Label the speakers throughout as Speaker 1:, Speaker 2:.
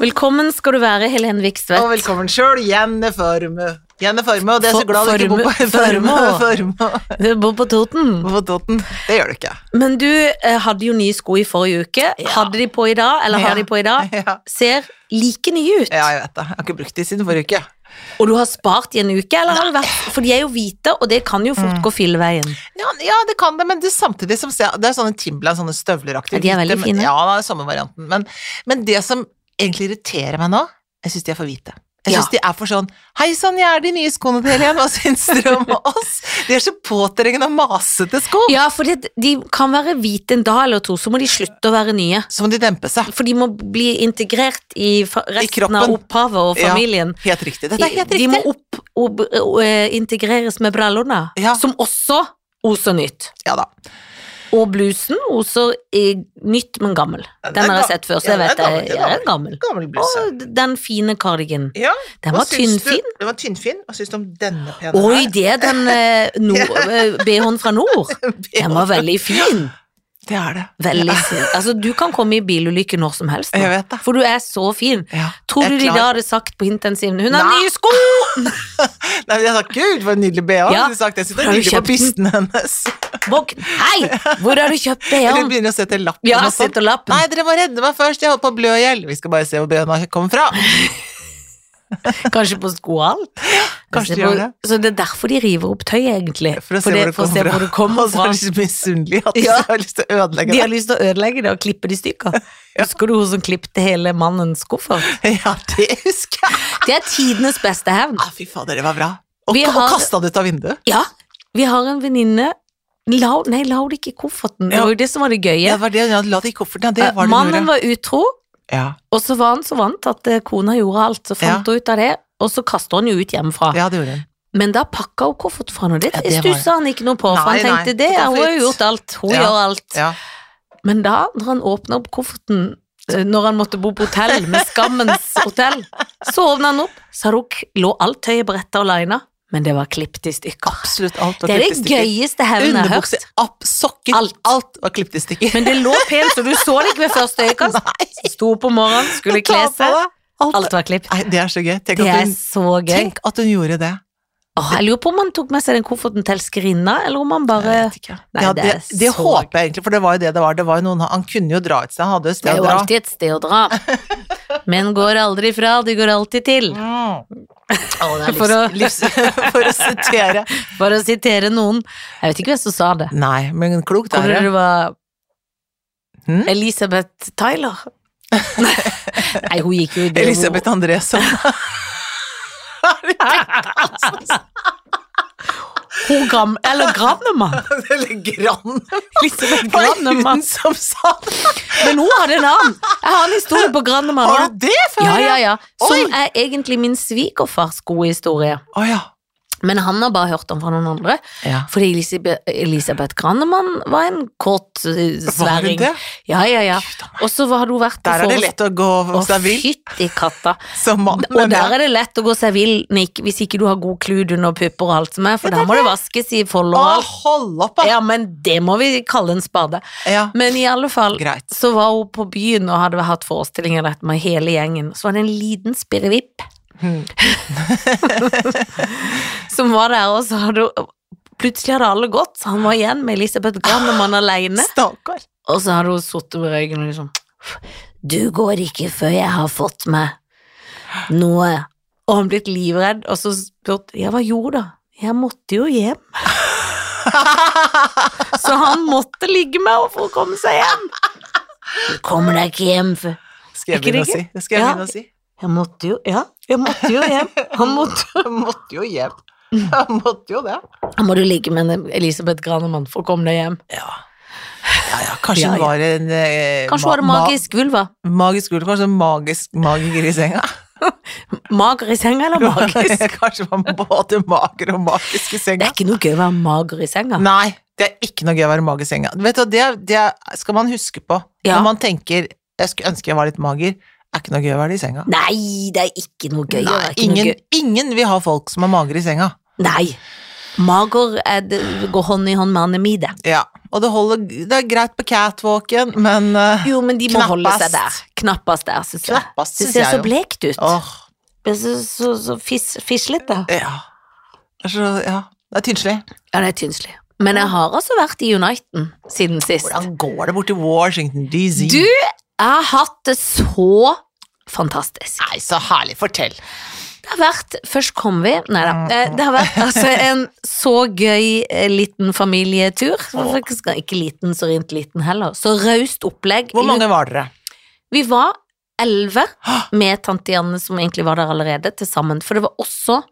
Speaker 1: Velkommen skal du være, Helen Vikstvedt.
Speaker 2: Og velkommen sjøl, Jenny Formø. Jenny Formø, og det er så
Speaker 1: For-
Speaker 2: glad du ikke bor på
Speaker 1: Formø.
Speaker 2: Formø. Formø.
Speaker 1: Du bor på Toten.
Speaker 2: På Toten. Det gjør du ikke.
Speaker 1: Men du eh, hadde jo nye sko i forrige uke. Hadde de på i dag, eller har
Speaker 2: Ja.
Speaker 1: de på i dag?
Speaker 2: Ja.
Speaker 1: Ser like nye ut.
Speaker 2: ja, jeg vet det. Jeg har ikke brukt de siden forrige uke.
Speaker 1: Og du har spart i en uke, eller har det vært For de er jo hvite, og det kan jo fort
Speaker 2: Mm.
Speaker 1: gå filleveien.
Speaker 2: Ja, ja, det kan det, men det, samtidig som se- Det er sånne Timberland, sånne støvleraktige.
Speaker 1: Ja, de er veldig
Speaker 2: hvite,
Speaker 1: fine.
Speaker 2: Men, ja, det er samme varianten. Men, men det som egentlig irriterer meg nå, jeg syns de er for hvite. Jeg
Speaker 1: Ja.
Speaker 2: syns de er for sånn Hei sann, jeg er de nye skoene til Helen, hva syns dere om oss? De er så påtrengende og masete sko.
Speaker 1: Ja, for det, de kan være hvite en dag eller to, så må de slutte å være nye.
Speaker 2: Så må de dempe seg.
Speaker 1: For de må bli integrert i fa- resten av
Speaker 2: kroppen.
Speaker 1: opphavet og
Speaker 2: Ja.
Speaker 1: familien.
Speaker 2: Helt riktig. Dette er helt
Speaker 1: De
Speaker 2: riktig.
Speaker 1: må opp, opp, eh, integreres med brillene,
Speaker 2: Ja.
Speaker 1: som også oser nytt.
Speaker 2: Ja da.
Speaker 1: Og blusen oser i nytt, men gammel.
Speaker 2: Ja, den
Speaker 1: Den
Speaker 2: er
Speaker 1: har jeg
Speaker 2: ga-
Speaker 1: sett før, så
Speaker 2: ja,
Speaker 1: jeg
Speaker 2: den er
Speaker 1: vet
Speaker 2: gammel,
Speaker 1: jeg
Speaker 2: den
Speaker 1: jeg
Speaker 2: er
Speaker 1: er gammel.
Speaker 2: Gammel bluse.
Speaker 1: Og den fine cardigan.
Speaker 2: Ja.
Speaker 1: Den
Speaker 2: hva
Speaker 1: var
Speaker 2: syns du-
Speaker 1: tynnfin.
Speaker 2: Den var tynnfin. Hva syns du om denne pene
Speaker 1: Oi, det er den eh, nord, eh, BH-en fra nord.
Speaker 2: her?
Speaker 1: Den var veldig fin.
Speaker 2: Det er det.
Speaker 1: Veldig fin. Altså, du kan komme i bilulykke når som helst. nå.
Speaker 2: Jeg vet det.
Speaker 1: For du er så fin.
Speaker 2: Ja.
Speaker 1: Tror
Speaker 2: Jeg
Speaker 1: du de
Speaker 2: klarer-
Speaker 1: da hadde sagt på intensiven 'Hun har
Speaker 2: Nei.
Speaker 1: nye sko!'
Speaker 2: Nei, men jeg sa gud, for en nydelig BH.
Speaker 1: Ja.
Speaker 2: Du sagt, jeg synes det
Speaker 1: Har
Speaker 2: er
Speaker 1: du
Speaker 2: nydelig på
Speaker 1: kjøpt den?
Speaker 2: bysten hennes.
Speaker 1: Våkn! Hei! Hvor har du kjøpt
Speaker 2: Eller
Speaker 1: BH-en?
Speaker 2: begynner å se til lappen.
Speaker 1: Ja,
Speaker 2: og
Speaker 1: se
Speaker 2: sånn.
Speaker 1: til lappen.
Speaker 2: Nei, dere må redde meg først, jeg holdt på å blø i hjel. Vi skal bare se hvor BH-en kommer fra.
Speaker 1: Kanskje på skoalt?
Speaker 2: Kanskje de
Speaker 1: på,
Speaker 2: gjør det.
Speaker 1: Så det er derfor de river opp tøyet, egentlig.
Speaker 2: For å se hvor det
Speaker 1: for å se
Speaker 2: kommer
Speaker 1: hvor
Speaker 2: fra.
Speaker 1: det kommer
Speaker 2: Og så
Speaker 1: fra.
Speaker 2: er de så misunnelige at
Speaker 1: Ja.
Speaker 2: de har lyst til å ødelegge
Speaker 1: De
Speaker 2: det.
Speaker 1: har lyst til å ødelegge det og klippe det i stykker. Husker du hun som klippte hele mannens koffert?
Speaker 2: Ja, det husker jeg.
Speaker 1: Det er tidenes beste hevn.
Speaker 2: Ah, fy fader, det var bra. Og,
Speaker 1: Vi har-
Speaker 2: og kasta det ut av vinduet.
Speaker 1: Ja, vi har en venninne La, Nei, la det ikke i kofferten. Det
Speaker 2: Ja.
Speaker 1: var jo det som var det gøye.
Speaker 2: Ja, det var det hun hadde la det i kofferten. Ja, det
Speaker 1: Eh,
Speaker 2: var det hun
Speaker 1: Mannen
Speaker 2: gjorde.
Speaker 1: var utro,
Speaker 2: Ja.
Speaker 1: og så var han så vant at eh, kona gjorde alt. Så fant hun ut av det, og så kasta hun jo ut hjemmefra.
Speaker 2: ja, det gjorde hun.
Speaker 1: Men da pakka hun koffert fra henne. Det
Speaker 2: Ja, det var-
Speaker 1: stussa han ikke noe på, for
Speaker 2: Nei,
Speaker 1: han tenkte
Speaker 2: nei,
Speaker 1: det,
Speaker 2: det
Speaker 1: ja,
Speaker 2: går
Speaker 1: hun har jo
Speaker 2: fint.
Speaker 1: gjort alt. Hun
Speaker 2: Ja.
Speaker 1: gjør alt.
Speaker 2: Ja.
Speaker 1: Men da, når han åpna opp kofferten eh, når han måtte bo på hotell med Skammens hotell, så åpna han opp, så hadde hun k- lå alt tøyet bretta og lina, men det var klippet i stykker.
Speaker 2: Absolutt alt var
Speaker 1: Det er
Speaker 2: klippet i
Speaker 1: det
Speaker 2: stykker.
Speaker 1: gøyeste hevnen jeg har hørt.
Speaker 2: Underbukser, app, sokker,
Speaker 1: Alt.
Speaker 2: alt. var klippet i stykker.
Speaker 1: Men det lå pent, så du så det ikke ved første øyekast. Sto opp om morgenen, skulle
Speaker 2: Ta
Speaker 1: kle
Speaker 2: på
Speaker 1: seg,
Speaker 2: deg. Alt.
Speaker 1: alt var klippet.
Speaker 2: Nei, det er så gøy. Tenk
Speaker 1: Det
Speaker 2: at,
Speaker 1: er
Speaker 2: hun,
Speaker 1: så gøy.
Speaker 2: tenk at hun gjorde det.
Speaker 1: Åh, jeg lurer på om han tok med seg den kofferten til elskerinna, eller om han bare
Speaker 2: Jeg vet ikke.
Speaker 1: Nei,
Speaker 2: ja,
Speaker 1: det
Speaker 2: det
Speaker 1: er
Speaker 2: det,
Speaker 1: så-
Speaker 2: håper jeg egentlig, for det var jo det det var. Det var jo noen, han kunne jo dra et sted, han hadde jo et
Speaker 1: Det er
Speaker 2: sted
Speaker 1: jo
Speaker 2: å dra.
Speaker 1: alltid et sted å dra. Menn går aldri fra, de går alltid til.
Speaker 2: Mm.
Speaker 1: For
Speaker 2: for, å,
Speaker 1: å-
Speaker 2: livs, for å sitere
Speaker 1: For å sitere noen. Jeg vet ikke hvem som sa det.
Speaker 2: Nei, men klokt
Speaker 1: Tror
Speaker 2: er
Speaker 1: du
Speaker 2: det.
Speaker 1: det var
Speaker 2: Hm?
Speaker 1: Elisabeth Tyler? Nei, hun gikk jo i det
Speaker 2: Elisabeth Andresson.
Speaker 1: Hun, hun gram, eller Grannemann.
Speaker 2: Eller Grann.
Speaker 1: Elisabeth
Speaker 2: Var det hun
Speaker 1: Grannemann.
Speaker 2: som sa det?
Speaker 1: Men hun hadde en annen. Jeg har en historie på Grannemann
Speaker 2: Har
Speaker 1: òg.
Speaker 2: du det før?
Speaker 1: Ja, ja, ja.
Speaker 2: Oi.
Speaker 1: Som er egentlig min svigerfars gode historie.
Speaker 2: Å ja.
Speaker 1: Men han har bare hørt den fra noen andre.
Speaker 2: ja.
Speaker 1: Fordi Elisabeth, Elisabeth Grannemann var en kåt eh,
Speaker 2: Var det
Speaker 1: sværing.
Speaker 2: det?
Speaker 1: Ja, ja, ja. Og så hadde hun vært på
Speaker 2: Der er det
Speaker 1: forest-
Speaker 2: lett å gå seg vill
Speaker 1: Å, fytti katta.
Speaker 2: som mann.
Speaker 1: Og
Speaker 2: men ja.
Speaker 1: der er det lett å gå seg vill, Nick, hvis ikke du har god klud under pupper og alt som er, for der må det vaskes i fold og
Speaker 2: Å,
Speaker 1: alt.
Speaker 2: hold opp, da!
Speaker 1: Ja, men det må vi kalle en spade.
Speaker 2: Ja.
Speaker 1: Men i alle fall,
Speaker 2: Greit.
Speaker 1: så var hun på byen og hadde hatt forestillinger dette med hele gjengen. Så var det en liten spirrevipp
Speaker 2: Hmm.
Speaker 1: som var der, og så hadde hun Plutselig hadde alle gått, så han var igjen med Elisabeth Grannemann alene.
Speaker 2: Stakkar.
Speaker 1: Og så hadde hun sittet med røyken og liksom Du går ikke før jeg har fått meg noe. Og han blitt livredd, og så spurt Ja, hva gjorde du da? Jeg måtte jo hjem. Så han måtte ligge med henne for å komme seg hjem. Du kommer deg ikke hjem før
Speaker 2: Skal
Speaker 1: Er
Speaker 2: jeg
Speaker 1: ikke
Speaker 2: begynne å
Speaker 1: det
Speaker 2: si? Det skal jeg
Speaker 1: Ja.
Speaker 2: begynne å si.
Speaker 1: Jeg måtte jo Ja, jeg måtte jo hjem. Han måtte
Speaker 2: Jeg måtte jo hjem. Jeg måtte jo det.
Speaker 1: Han må du ligge med en Elisabeth Granemann for å komme deg hjem.
Speaker 2: Ja, ja, ja kanskje
Speaker 1: Ja,
Speaker 2: hun
Speaker 1: ja.
Speaker 2: var en eh,
Speaker 1: Kanskje
Speaker 2: ma-
Speaker 1: hun hadde magisk vulva.
Speaker 2: Ma magisk ulv, kanskje en magisk magiker i senga.
Speaker 1: Mager i senga eller magisk?
Speaker 2: kanskje hun var både mager og magisk i
Speaker 1: Det
Speaker 2: senga.
Speaker 1: er ikke noe gøy å være mager i senga.
Speaker 2: Nei, det er ikke noe gøy å være magisk i senga. Vet du, det, det skal man huske på
Speaker 1: Ja.
Speaker 2: når man tenker jeg skulle ønske jeg var litt mager. Det er ikke noe gøy å være det i senga.
Speaker 1: Nei, det er ikke noe gøy. å
Speaker 2: Nei,
Speaker 1: være ikke noe
Speaker 2: ingen,
Speaker 1: gøy.
Speaker 2: ingen vil ha folk som er magre i senga.
Speaker 1: eh, Nei. Mager er det, går hånd i hånd med anemide.
Speaker 2: Ja, Og det, holder, det er greit på catwalken, men eh,
Speaker 1: Jo, men de må
Speaker 2: Knappast.
Speaker 1: holde seg der. Knappest der, syns jeg.
Speaker 2: knappast,
Speaker 1: Det
Speaker 2: syns
Speaker 1: ser
Speaker 2: jeg
Speaker 1: så
Speaker 2: jo.
Speaker 1: blekt ut.
Speaker 2: Åh,
Speaker 1: Det ser så, så fis, fislete.
Speaker 2: ja. Det er så, ja. Det er tynnslig.
Speaker 1: Ja, det er tynnslig. Men jeg har altså vært i Uniten siden sist.
Speaker 2: Hvordan går det borti Washington DZ?
Speaker 1: Du har hatt det så fantastisk.
Speaker 2: Nei, så herlig. Fortell.
Speaker 1: Det har vært Først kom vi Nei
Speaker 2: Mm.
Speaker 1: da. Eh, Det har vært altså en så gøy eh, liten familietur. Faktisk Ikke liten, så rent liten heller. Så raust opplegg.
Speaker 2: Hvor mange var dere?
Speaker 1: Vi var elleve med tante Janne, som egentlig var der allerede, til sammen. For det var også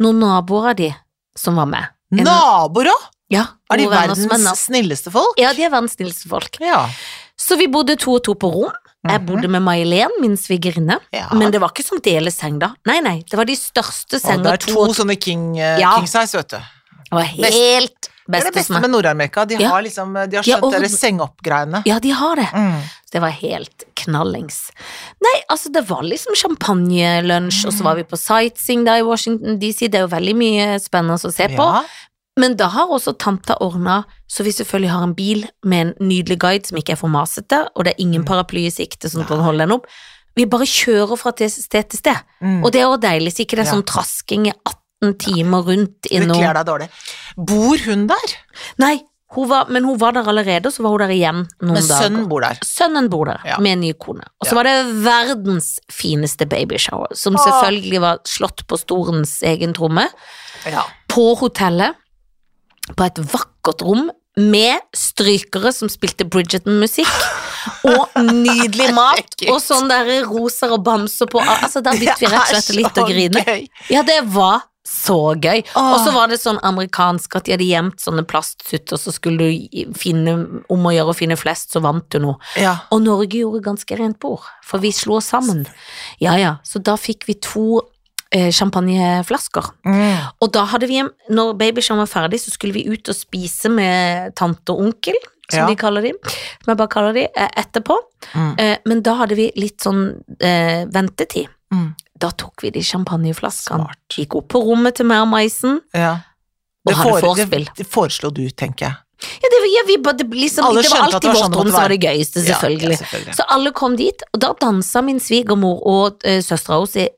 Speaker 1: noen naboer av de som var med. En-
Speaker 2: Naboer òg?
Speaker 1: Ja,
Speaker 2: Er de
Speaker 1: gode venner som er
Speaker 2: verdens
Speaker 1: nas-
Speaker 2: snilleste folk?
Speaker 1: Ja, de er verdens snilleste folk.
Speaker 2: Ja.
Speaker 1: Så vi bodde to og to på rom. Jeg
Speaker 2: Mhm.
Speaker 1: bodde med May-Helen, min svigerinne.
Speaker 2: ja.
Speaker 1: Men det var ikke sånn som deleseng, da. Nei, nei, det var de største
Speaker 2: Og det
Speaker 1: senga.
Speaker 2: er to sånne king, eh,
Speaker 1: Ja.
Speaker 2: king size, vet du.
Speaker 1: Det var helt
Speaker 2: Det er det
Speaker 1: best hos
Speaker 2: beste
Speaker 1: meg.
Speaker 2: med Nord-Amerika. De
Speaker 1: Ja.
Speaker 2: har liksom, de har
Speaker 1: Ja,
Speaker 2: skjønt
Speaker 1: og-
Speaker 2: deres sengeopp-greiene.
Speaker 1: Ja, de har det.
Speaker 2: Mm.
Speaker 1: Så det var helt knallings. Nei, altså det var liksom champagnelunsj, og så var vi på sightseeing da i Washington DC. Det er jo veldig mye spennende å se på.
Speaker 2: Ja.
Speaker 1: Men da har også tanta ordna, så vi selvfølgelig har en bil med en nydelig guide som ikke er for masete, og det er
Speaker 2: Mm.
Speaker 1: ingen paraply i sikte som kan holde den opp. Vi bare kjører fra til sted til sted,
Speaker 2: Mm.
Speaker 1: og det er jo deilig. Så ikke det er
Speaker 2: Ja.
Speaker 1: sånn trasking i 18 timer rundt
Speaker 2: Det
Speaker 1: innom
Speaker 2: kler deg dårlig. Bor hun der?
Speaker 1: Nei, hun var, men hun var der allerede, og så var hun der igjen noen
Speaker 2: Men
Speaker 1: dager.
Speaker 2: sønnen bor der.
Speaker 1: Sønnen bor der
Speaker 2: Ja.
Speaker 1: med en ny kone. Og så
Speaker 2: Ja.
Speaker 1: var det verdens fineste babyshower, som
Speaker 2: Åh.
Speaker 1: selvfølgelig var slått på storens egen tromme.
Speaker 2: Ja.
Speaker 1: på hotellet, på et vakkert rom, med strykere som spilte Bridgerton-musikk, og nydelig mat,
Speaker 2: Herregud.
Speaker 1: og sånn der roser og bamser på. Altså, da begynte vi rett og slett litt å grine.
Speaker 2: gøy.
Speaker 1: Ja, det var så gøy.
Speaker 2: Åh.
Speaker 1: Og så var det sånn amerikansk at de hadde gjemt sånne plastsutter, så skulle du i- finne, om å gjøre å finne flest, så vant du noe.
Speaker 2: Ja.
Speaker 1: Og Norge gjorde ganske rent bord, for vi slo oss sammen. Ja, ja, så da fikk vi to eh, champagneflasker.
Speaker 2: Mm.
Speaker 1: Og da hadde vi en, når babyshowen var ferdig, så skulle vi ut og spise med tante og onkel, som
Speaker 2: Ja.
Speaker 1: de kaller de, som jeg bare kaller de, eh, etterpå.
Speaker 2: Mm.
Speaker 1: Eh, Men da hadde vi litt sånn eh, ventetid.
Speaker 2: Mm.
Speaker 1: Da tok vi de champagneflaskene,
Speaker 2: Smart.
Speaker 1: gikk opp på rommet til meg og Maisen,
Speaker 2: Ja.
Speaker 1: og hadde
Speaker 2: det,
Speaker 1: vorspiel.
Speaker 2: det foreslo du, tenker jeg.
Speaker 1: Ja, det, var- ja, vi, bare- det, liksom,
Speaker 2: Alle
Speaker 1: det var
Speaker 2: skjønte at det
Speaker 1: alltid
Speaker 2: var
Speaker 1: vårt
Speaker 2: sånn det
Speaker 1: rom
Speaker 2: måtte
Speaker 1: som var det
Speaker 2: være.
Speaker 1: gøyeste,
Speaker 2: Ja,
Speaker 1: selvfølgelig.
Speaker 2: Ja, selvfølgelig.
Speaker 1: Så alle kom dit, og da dansa min svigermor og eh, søstera hennes.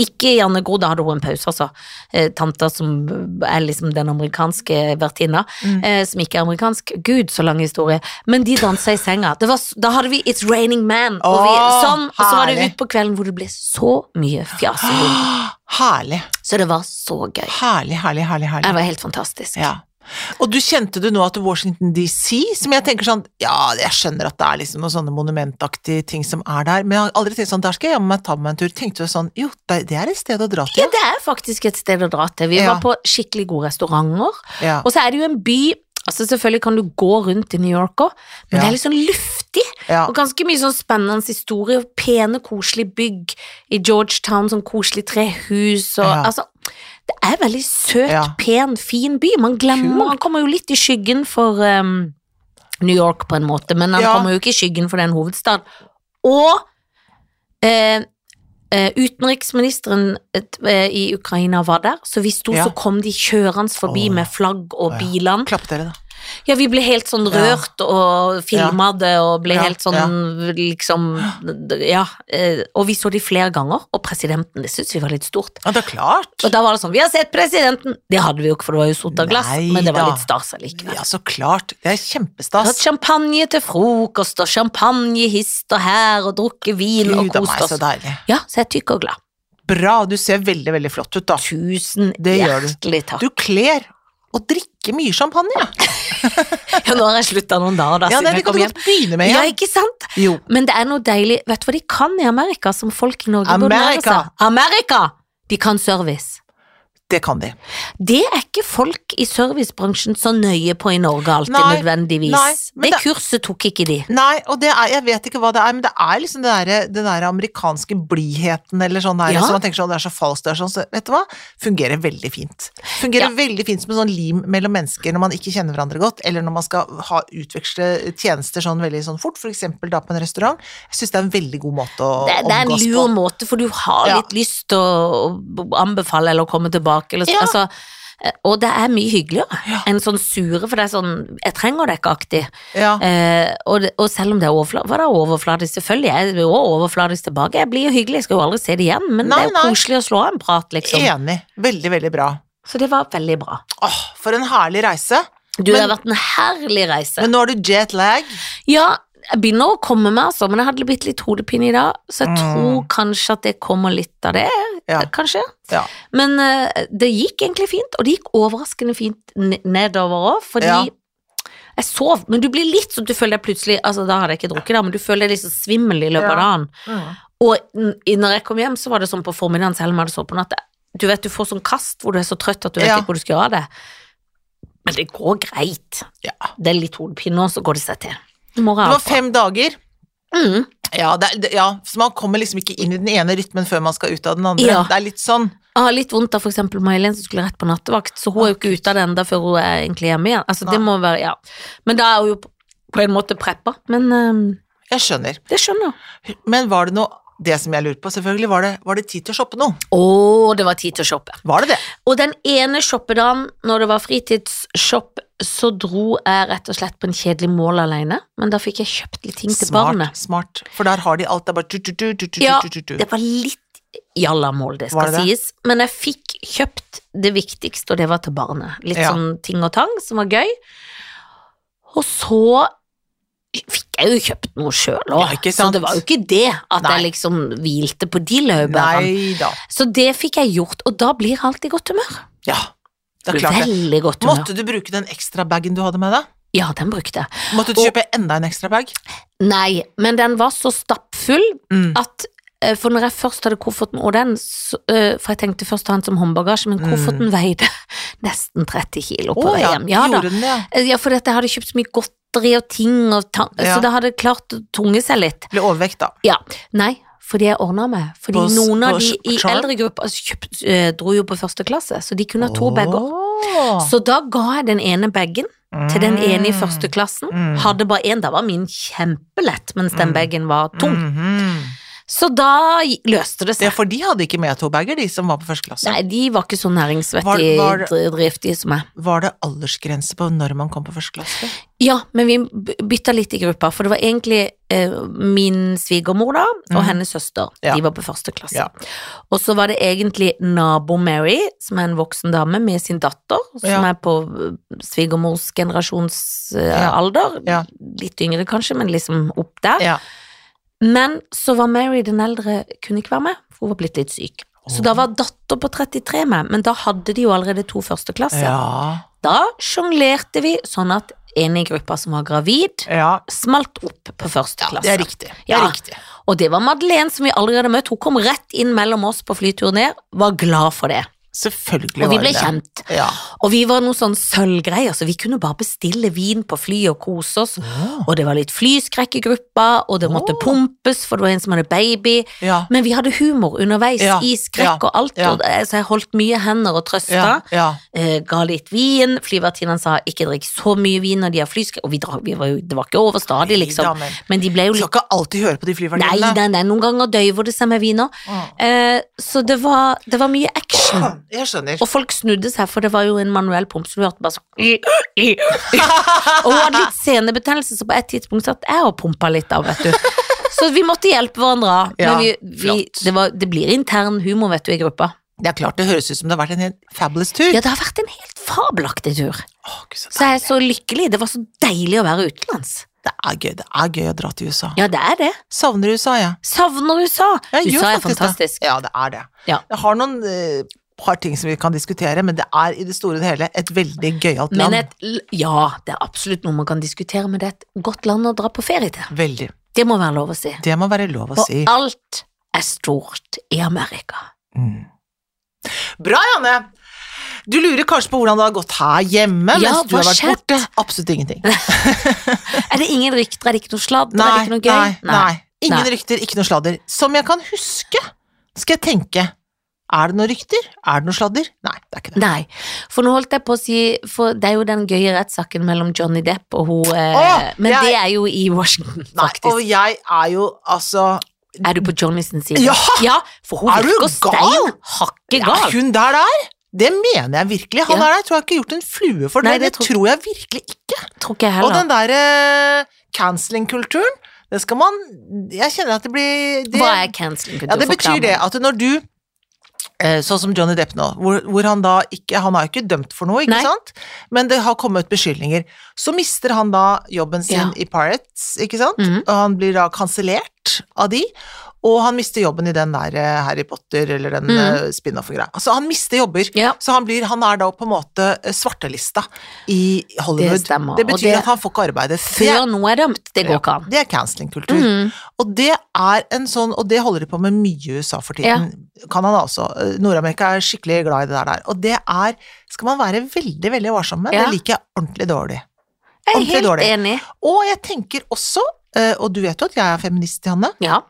Speaker 1: Ikke Janne Gro, da hadde hun en pause, altså. Eh, tanta som er liksom den amerikanske vertinna,
Speaker 2: Mm.
Speaker 1: eh, som ikke er amerikansk. Gud, så lang historie. Men de dansa i senga. Det var, s- da hadde vi It's Raining Man, og, vi,
Speaker 2: Åh,
Speaker 1: sånn, og så var det
Speaker 2: herlig.
Speaker 1: ut på kvelden hvor det ble så mye fjas. og rom.
Speaker 2: Herlig,
Speaker 1: Så det var så gøy.
Speaker 2: herlig, herlig, herlig. herlig.
Speaker 1: Det var helt fantastisk.
Speaker 2: Ja. Og du kjente du nå at Washington DC, som jeg tenker sånn Ja, jeg skjønner at det er liksom noen sånne monumentaktige ting som er der, men jeg har aldri tenkt sånn Der skal jeg jammen meg ta meg en tur. Tenkte du sånn Jo, det det er et sted å dra
Speaker 1: Ja,
Speaker 2: til.
Speaker 1: det er faktisk et sted å dra til. Vi
Speaker 2: Ja.
Speaker 1: var på skikkelig gode restauranter.
Speaker 2: Ja.
Speaker 1: Og så er det jo en by Altså Selvfølgelig kan du gå rundt i New York òg, men det
Speaker 2: Ja.
Speaker 1: er litt sånn luftig.
Speaker 2: ja.
Speaker 1: Og ganske mye sånn spennende historie, og pene, koselige bygg i Georgetown, sånn koselig trehus og
Speaker 2: Ja.
Speaker 1: Altså, det er en veldig søt,
Speaker 2: Ja.
Speaker 1: pen, fin by. Man glemmer
Speaker 2: Kult.
Speaker 1: Han kommer jo litt i skyggen for ehm, New York, på en måte, men han
Speaker 2: Ja.
Speaker 1: kommer jo ikke i skyggen for den hovedstaden. Og eh, eh, utenriksministeren et, eh, i Ukraina var der, så vi sto,
Speaker 2: Ja.
Speaker 1: så kom de kjørende forbi
Speaker 2: Åh.
Speaker 1: med flagg og
Speaker 2: Åh, ja.
Speaker 1: bilene.
Speaker 2: Klapp dere, da.
Speaker 1: Ja, vi ble helt sånn
Speaker 2: Ja.
Speaker 1: rørt og filma det og ble
Speaker 2: Ja,
Speaker 1: helt sånn liksom Ja. eh, Og vi så de flere ganger, og presidenten, det syntes vi var litt stort.
Speaker 2: Ja, det er klart.
Speaker 1: Og da var det sånn Vi har sett presidenten! Det hadde vi jo ikke, for det var jo sota glass,
Speaker 2: Nei
Speaker 1: men det var
Speaker 2: da.
Speaker 1: litt stas allikevel.
Speaker 2: Ja, så klart. Det er
Speaker 1: Tatt
Speaker 2: kjempestas.
Speaker 1: champagne til frokost, og champagne hist og her, og drukket vin og
Speaker 2: Gud a meg,
Speaker 1: kost
Speaker 2: så
Speaker 1: oss.
Speaker 2: deilig.
Speaker 1: Ja, så jeg er tykk og glad.
Speaker 2: Bra. Du ser veldig, veldig flott ut, da.
Speaker 1: Tusen
Speaker 2: Det gjør du.
Speaker 1: hjertelig takk.
Speaker 2: Du kler og drikker mye champagne. ja.
Speaker 1: Ja, nå har jeg slutta noen dager, da,
Speaker 2: Ja, nei,
Speaker 1: siden jeg
Speaker 2: det
Speaker 1: kom
Speaker 2: kan du
Speaker 1: hjem.
Speaker 2: godt begynne med
Speaker 1: Ja,
Speaker 2: igjen.
Speaker 1: ikke sant?
Speaker 2: Jo.
Speaker 1: Men det er noe deilig Vet du hva de kan i Amerika som folk i Norge burde lære
Speaker 2: Amerika.
Speaker 1: seg? Amerika! De kan service.
Speaker 2: Det kan de.
Speaker 1: Det er ikke folk i servicebransjen så nøye på i Norge alltid,
Speaker 2: Nei,
Speaker 1: nødvendigvis.
Speaker 2: nei, men
Speaker 1: det
Speaker 2: det-
Speaker 1: kurset tok ikke de.
Speaker 2: Nei, og det er, jeg vet ikke hva det er, men det er liksom det derre- den der amerikanske blidheten eller sånn der,
Speaker 1: Ja.
Speaker 2: som man tenker sånn, det er så falskt, det er sånn, så vet du hva? Fungerer veldig fint. Fungerer
Speaker 1: Ja.
Speaker 2: veldig fint som en sånn lim mellom mennesker når man ikke kjenner hverandre godt, eller når man skal ha, utveksle tjenester sånn veldig sånn fort, for eksempel da på en restaurant. Jeg synes det er en veldig god måte å
Speaker 1: Det, det er en
Speaker 2: omgås
Speaker 1: lur
Speaker 2: på.
Speaker 1: måte, for du har
Speaker 2: Ja.
Speaker 1: litt lyst til å å anbefale eller å komme tilbake. Eller, så-
Speaker 2: Ja.
Speaker 1: altså, Eh, Og det er mye hyggeligere
Speaker 2: Ja.
Speaker 1: enn sånn sure, for det er sånn Jeg trenger deg ikke-aktig.
Speaker 2: Ja.
Speaker 1: Eh, og, det- og selv om det er overfladisk, var det overfladisk selvfølgelig, jeg er også overfladisk tilbake. Jeg blir jo hyggelig, jeg skal jo aldri se det igjen, men det
Speaker 2: Nei,
Speaker 1: er jo
Speaker 2: nei.
Speaker 1: koselig å slå av en prat, liksom.
Speaker 2: Enig. Veldig, veldig bra.
Speaker 1: Så det var veldig bra.
Speaker 2: Åh, for en herlig reise.
Speaker 1: Du, det
Speaker 2: Men-
Speaker 1: har vært en herlig reise.
Speaker 2: Men nå har du jet lag.
Speaker 1: Ja, jeg begynner å komme meg, altså, men jeg hadde blitt litt hodepine i dag, så jeg
Speaker 2: Mm.
Speaker 1: tror kanskje at det kommer litt av det,
Speaker 2: Ja.
Speaker 1: kanskje.
Speaker 2: Ja.
Speaker 1: Men eh, det gikk egentlig fint, og det gikk overraskende fint n- nedover òg, fordi
Speaker 2: Ja.
Speaker 1: jeg sov, men du blir litt sånn, du føler deg plutselig Altså, da hadde jeg ikke drukket, da, men du føler deg litt sånn svimmel i løpet
Speaker 2: Ja.
Speaker 1: av dagen.
Speaker 2: Mm.
Speaker 1: Og n- i- når jeg kom hjem, så var det sånn på formiddagen selv om jeg hadde sovet på natt. Du vet, du får sånn kast hvor du er så trøtt at du vet
Speaker 2: Ja.
Speaker 1: ikke hvor du skal gjøre av det. Men det går greit.
Speaker 2: Ja.
Speaker 1: Det er litt hodepine nå, så går det seg til. I morgen
Speaker 2: Det
Speaker 1: er
Speaker 2: var
Speaker 1: alt bra.
Speaker 2: fem dager.
Speaker 1: Mm.
Speaker 2: Ja, det er, det, ja, så man kommer liksom ikke inn i den ene rytmen før man skal ut av den andre.
Speaker 1: Ja.
Speaker 2: Det er litt sånn.
Speaker 1: Jeg har litt vondt av for eksempel May-Helen som skulle rett på nattevakt, så hun er jo ikke ute av det enda før hun er egentlig hjemme igjen. Altså, det
Speaker 2: Nei.
Speaker 1: må være, ja. Men da er hun jo på- på en måte preppa. Men øhm,
Speaker 2: Jeg skjønner.
Speaker 1: det skjønner jeg.
Speaker 2: Men var det noe Det som jeg lurer på, selvfølgelig, var det, var det tid til å shoppe noe?
Speaker 1: Å, det var tid til å shoppe.
Speaker 2: Var det det?
Speaker 1: Og den ene shoppedagen, når det var fritidsshopp, så dro jeg rett og slett på en kjedelig mål alene. Men da fikk jeg kjøpt litt ting til barnet.
Speaker 2: smart. For der har de alt. Det er bare tu, tu, tu, tu, tu,
Speaker 1: Ja,
Speaker 2: tu, tu, tu.
Speaker 1: Det var litt jallamål, det skal
Speaker 2: Var det det?
Speaker 1: sies. Men jeg fikk kjøpt det viktigste, og det var til barnet. Litt
Speaker 2: Ja.
Speaker 1: sånn ting og tang som var gøy. Og så fikk jeg jo kjøpt noe sjøl
Speaker 2: Ja,
Speaker 1: òg,
Speaker 2: ikke
Speaker 1: så
Speaker 2: sant?
Speaker 1: det var jo ikke det at
Speaker 2: Nei.
Speaker 1: jeg liksom hvilte på de laurbærene.
Speaker 2: Nei da.
Speaker 1: Så det fikk jeg gjort, og da blir jeg alltid i godt humør.
Speaker 2: Ja, det er
Speaker 1: Blir
Speaker 2: klart det.
Speaker 1: Veldig godt humør.
Speaker 2: Måtte du bruke den ekstra bagen du hadde med deg?
Speaker 1: Ja, den brukte jeg.
Speaker 2: Måtte du kjøpe enda en ekstra bag?
Speaker 1: Nei, men den var så stappfull
Speaker 2: Mm.
Speaker 1: at eh, For når jeg først hadde kofferten og den, så, eh, for jeg tenkte først å ha den som håndbagasje, men
Speaker 2: Mm.
Speaker 1: kofferten veide nesten 30 kilo på
Speaker 2: Å,
Speaker 1: vei
Speaker 2: ja,
Speaker 1: hjem. Ja, da.
Speaker 2: gjorde den det? ja.
Speaker 1: Eh, ja fordi at jeg hadde kjøpt så mye godteri og ting, og ta-
Speaker 2: Ja.
Speaker 1: så det hadde klart å tunge seg litt.
Speaker 2: Ble overvekt, da.
Speaker 1: Ja, Nei, fordi jeg ordna meg. Fordi
Speaker 2: På s-
Speaker 1: noen av
Speaker 2: på
Speaker 1: de
Speaker 2: s-
Speaker 1: i
Speaker 2: charm?
Speaker 1: eldre gruppa kjøpt- eh, dro jo på første klasse, så de kunne ha to bager.
Speaker 2: Åh.
Speaker 1: Så da ga jeg den ene bagen til den ene i første klassen.
Speaker 2: Mm.
Speaker 1: Hadde bare én, da var min kjempelett, mens den
Speaker 2: Mm.
Speaker 1: bagen var tung.
Speaker 2: Mhm.
Speaker 1: Så da gi- løste det
Speaker 2: Ja,
Speaker 1: seg.
Speaker 2: for de hadde ikke med to bager, de som var på første klasse.
Speaker 1: Nei, de var ikke så næringsvettige
Speaker 2: Var- var-
Speaker 1: dri- driftige som meg.
Speaker 2: Var det aldersgrense på når man kom på første klasse?
Speaker 1: Ja, men vi b- bytta litt i gruppa, for det var egentlig eh, min svigermor da, og
Speaker 2: Mhm.
Speaker 1: hennes søster.
Speaker 2: Ja.
Speaker 1: De var på første klasse.
Speaker 2: Ja.
Speaker 1: Og så var det egentlig nabo Mary, som er en voksen dame med sin datter, som
Speaker 2: Ja.
Speaker 1: er på eh, svigermors
Speaker 2: Ja.
Speaker 1: generasjonsalder.
Speaker 2: Ja.
Speaker 1: Litt yngre kanskje, men liksom opp der.
Speaker 2: Ja.
Speaker 1: Men så var Mary den eldre kunne ikke være med, for hun var blitt litt syk. Så
Speaker 2: Åh.
Speaker 1: da var datter på 33 med, men da hadde de jo allerede to
Speaker 2: Altså.
Speaker 1: førsteklasser.
Speaker 2: Ja.
Speaker 1: Da sjonglerte vi sånn at en i gruppa som var gravid,
Speaker 2: ja.
Speaker 1: smalt opp på første klasse.
Speaker 2: Det er riktig. Det er
Speaker 1: Ja.
Speaker 2: riktig.
Speaker 1: Og det var Madeleine som vi aldri hadde møtt. Hun kom rett inn mellom oss på flyturen ned, var glad for det.
Speaker 2: Selvfølgelig
Speaker 1: Og vi
Speaker 2: var
Speaker 1: ble
Speaker 2: det det.
Speaker 1: kjent.
Speaker 2: Ja.
Speaker 1: Og vi var noen sånn sølvgreier, så vi kunne bare bestille vin på flyet og kose oss.
Speaker 2: Ah.
Speaker 1: Og det var litt flyskrekk i gruppa, og det måtte
Speaker 2: Åh.
Speaker 1: pumpes, for det var en som hadde baby.
Speaker 2: Ja.
Speaker 1: Men vi hadde humor underveis
Speaker 2: Ja,
Speaker 1: i skrekk og alt,
Speaker 2: ja.
Speaker 1: og det- så jeg holdt mye hender og trøsta.
Speaker 2: Ja. ja.
Speaker 1: eh, ga litt vin, flyvertinnene sa ikke drikk så mye vin når de har flyskrekk, og vi drakk, vi var jo, det var ikke overstadig liksom,
Speaker 2: Damer.
Speaker 1: men de ble jo
Speaker 2: Du skal
Speaker 1: litt
Speaker 2: ikke alltid høre på de
Speaker 1: Nei,
Speaker 2: flyvertinnene.
Speaker 1: nei, nei, noen ganger døyver det seg med vin òg. Eh, så det var, det var mye action.
Speaker 2: Mm. Jeg skjønner.
Speaker 1: Og folk snudde seg, for det var jo en manuell pump, så du hørte bare sånn Og hun hadde litt senebetennelse, så på et tidspunkt satt jeg og pumpa litt av, vet du. Så vi måtte hjelpe hverandre av.
Speaker 2: Ja,
Speaker 1: Men vi, vi,
Speaker 2: flott.
Speaker 1: det, var, det blir intern humor, vet du, i gruppa.
Speaker 2: Det er klart det høres ut som det har vært en helt fabulous tur.
Speaker 1: Ja, det har vært en helt fabelaktig tur.
Speaker 2: Åh, Gud, så
Speaker 1: Så jeg er så lykkelig. Det var så deilig å være utenlands.
Speaker 2: Det er gøy. Det er gøy å dra til USA.
Speaker 1: Ja, det er det.
Speaker 2: Savner USA, jeg.
Speaker 1: Savner USA.
Speaker 2: jeg gjør
Speaker 1: USA er
Speaker 2: faktisk det.
Speaker 1: fantastisk.
Speaker 2: Ja, det er det.
Speaker 1: Ja.
Speaker 2: Jeg har noen eh, par ting som vi kan diskutere, men det er i det store og det hele et veldig gøyalt
Speaker 1: Men
Speaker 2: land.
Speaker 1: et, l- ja, det er absolutt noe man kan diskutere, men det er et godt land å dra på ferie til.
Speaker 2: Veldig.
Speaker 1: Det må være lov å si.
Speaker 2: Det må være lov å
Speaker 1: Og
Speaker 2: si.
Speaker 1: alt er stort i Amerika.
Speaker 2: Mm. Bra, Janne! Du lurer kanskje på hvordan det har gått her hjemme
Speaker 1: Ja,
Speaker 2: mens du
Speaker 1: hva
Speaker 2: har vært
Speaker 1: skjedde?
Speaker 2: borte. Absolutt ingenting.
Speaker 1: Er det ingen rykter, er det ikke noe sladder, er det ikke noe
Speaker 2: nei,
Speaker 1: gøy?
Speaker 2: nei. Ingen
Speaker 1: Nei.
Speaker 2: rykter, ikke noe sladder. Som jeg kan huske, skal jeg tenke. Er det noen rykter? Er det noe sladder? Nei, det er ikke det.
Speaker 1: Nei. For nå holdt jeg på å si For det er jo den gøye rettssaken mellom Johnny Depp og hun eh,
Speaker 2: Åh,
Speaker 1: Men
Speaker 2: jeg-
Speaker 1: det er jo i Washington,
Speaker 2: Nei,
Speaker 1: faktisk.
Speaker 2: og jeg er jo altså
Speaker 1: Er du på Johnnys side?
Speaker 2: Ja!
Speaker 1: ja! For hun
Speaker 2: Er du
Speaker 1: virker
Speaker 2: gal?
Speaker 1: stein hakke
Speaker 2: Er
Speaker 1: gal.
Speaker 2: hun der der? Det mener jeg virkelig. Han
Speaker 1: Ja.
Speaker 2: er der, tror jeg ikke har gjort en flue for det.
Speaker 1: Nei,
Speaker 2: det,
Speaker 1: det tror-
Speaker 2: tror jeg virkelig ikke.
Speaker 1: Tror ikke jeg
Speaker 2: Og
Speaker 1: heller.
Speaker 2: den derre canceling-kulturen, det skal man Jeg kjenner at det blir det,
Speaker 1: Hva er canceling?
Speaker 2: Ja, det betyr det at når du eh, Sånn som Johnny Depp nå, hvor, hvor han da ikke Han er jo ikke dømt for noe, ikke
Speaker 1: Nei.
Speaker 2: sant? Men det har kommet beskyldninger. Så mister han da jobben sin
Speaker 1: Ja.
Speaker 2: i Pirates, ikke sant?
Speaker 1: Mhm.
Speaker 2: Og han blir da kansellert av de. Og han mister jobben i den der eh, Harry Potter eller den
Speaker 1: Mhm.
Speaker 2: eh, spin-off-greia. Altså, han mister jobber.
Speaker 1: Ja,
Speaker 2: Så han, blir, han er da på en måte eh, svartelista i Hollywood.
Speaker 1: Det stemmer,
Speaker 2: Det
Speaker 1: og
Speaker 2: betyr
Speaker 1: det-
Speaker 2: at han får ikke arbeide. Det,
Speaker 1: før noe er dømt. Det går ikke an.
Speaker 2: det er canceling-kultur.
Speaker 1: Mhm.
Speaker 2: Og det er en sånn, og det holder de på med mye i USA for tiden. Canada også. Eh, Nord-Amerika er skikkelig glad i det der. Og det er Skal man være veldig, veldig varsom med.
Speaker 1: Ja.
Speaker 2: Det liker jeg ordentlig dårlig.
Speaker 1: Jeg er
Speaker 2: Ordentlig
Speaker 1: helt
Speaker 2: dårlig.
Speaker 1: enig.
Speaker 2: Og jeg tenker også, eh, og du vet jo at jeg er feminist, Janne,
Speaker 1: Ja.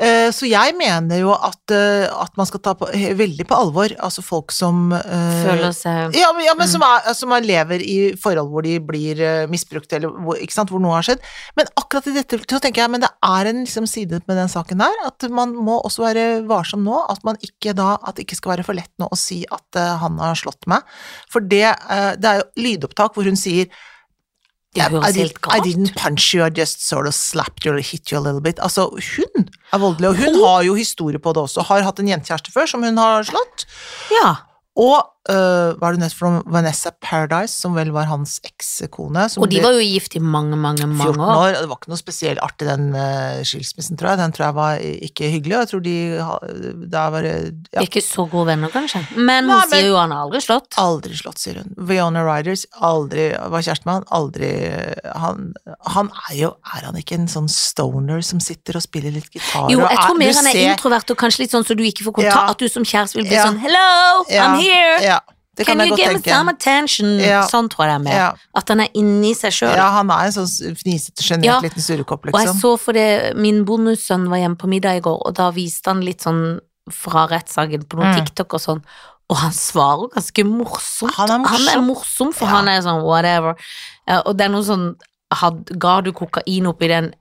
Speaker 2: eh, så jeg mener jo at, eh, at man skal ta på, he- veldig på alvor altså folk som eh,
Speaker 1: Føler seg
Speaker 2: ja, men, ja, men som, er, som er lever i forhold hvor de blir eh, misbrukt, eller hvor, ikke sant, hvor noe har skjedd. Men akkurat i dette så tenker jeg, men det er en liksom, side med den saken der, at man må også være varsom nå, at man ikke da, at det ikke skal være for lett nå å si at eh, han har slått meg. For det, eh, det er jo lydopptak hvor hun sier
Speaker 1: Det høres
Speaker 2: I,
Speaker 1: helt
Speaker 2: didn't, I
Speaker 1: galt
Speaker 2: didn't punch you, I just sort of slapped you or hit you a little bit. Altså, hun er voldelig, og hun har jo historie på det også. Har hatt en jentekjæreste før som hun har slått.
Speaker 1: Ja.
Speaker 2: Og øh, hva er det nødt for noe? Vanessa Paradise, som vel var hans ekskone. som
Speaker 1: Og de
Speaker 2: ble
Speaker 1: var jo gift i mange, mange, mange
Speaker 2: 14
Speaker 1: år.
Speaker 2: år, og Det var ikke noe spesielt artig, den øh, skilsmissen, tror jeg. Den tror jeg var i- ikke hyggelig, og jeg tror de ha- da var det-
Speaker 1: Vi
Speaker 2: ja,
Speaker 1: er Ikke så gode venner, kanskje. Men
Speaker 2: Nei,
Speaker 1: hun
Speaker 2: men-
Speaker 1: sier jo han har aldri slått.
Speaker 2: Aldri slått, sier hun. Veona Riders aldri var kjæreste med han. Aldri Han, han er jo Er han ikke en sånn stoner som sitter og spiller litt gitar?
Speaker 1: Jo,
Speaker 2: og
Speaker 1: jeg tror
Speaker 2: du
Speaker 1: mer han er
Speaker 2: ser-
Speaker 1: introvert og kanskje litt sånn så du ikke får kontakt.
Speaker 2: Ja.
Speaker 1: At du som kjæreste vil bli
Speaker 2: Ja.
Speaker 1: sånn 'hello,
Speaker 2: Ja.
Speaker 1: I'm here',
Speaker 2: Ja, det kan,
Speaker 1: can
Speaker 2: jeg
Speaker 1: you give
Speaker 2: godt
Speaker 1: me some
Speaker 2: tenke.
Speaker 1: attention?
Speaker 2: Ja.
Speaker 1: Sånn tror jeg det er mer.
Speaker 2: Ja,
Speaker 1: At han er inni seg sjøl.
Speaker 2: ja, han er en sånn fnisete, sjenert
Speaker 1: Ja.
Speaker 2: liten surrekopp,
Speaker 1: Og jeg
Speaker 2: liksom.
Speaker 1: så for det, min bonussønn var hjemme på middag i går, og da viste han litt sånn fra rettssaken på noen
Speaker 2: Mm.
Speaker 1: TikTok og sånn, og han svarer ganske morsomt.
Speaker 2: Han er morsom.
Speaker 1: morsom, for
Speaker 2: Ja.
Speaker 1: han er sånn whatever. Eh, Og det er noe sånn, had, ga du kokain oppi den?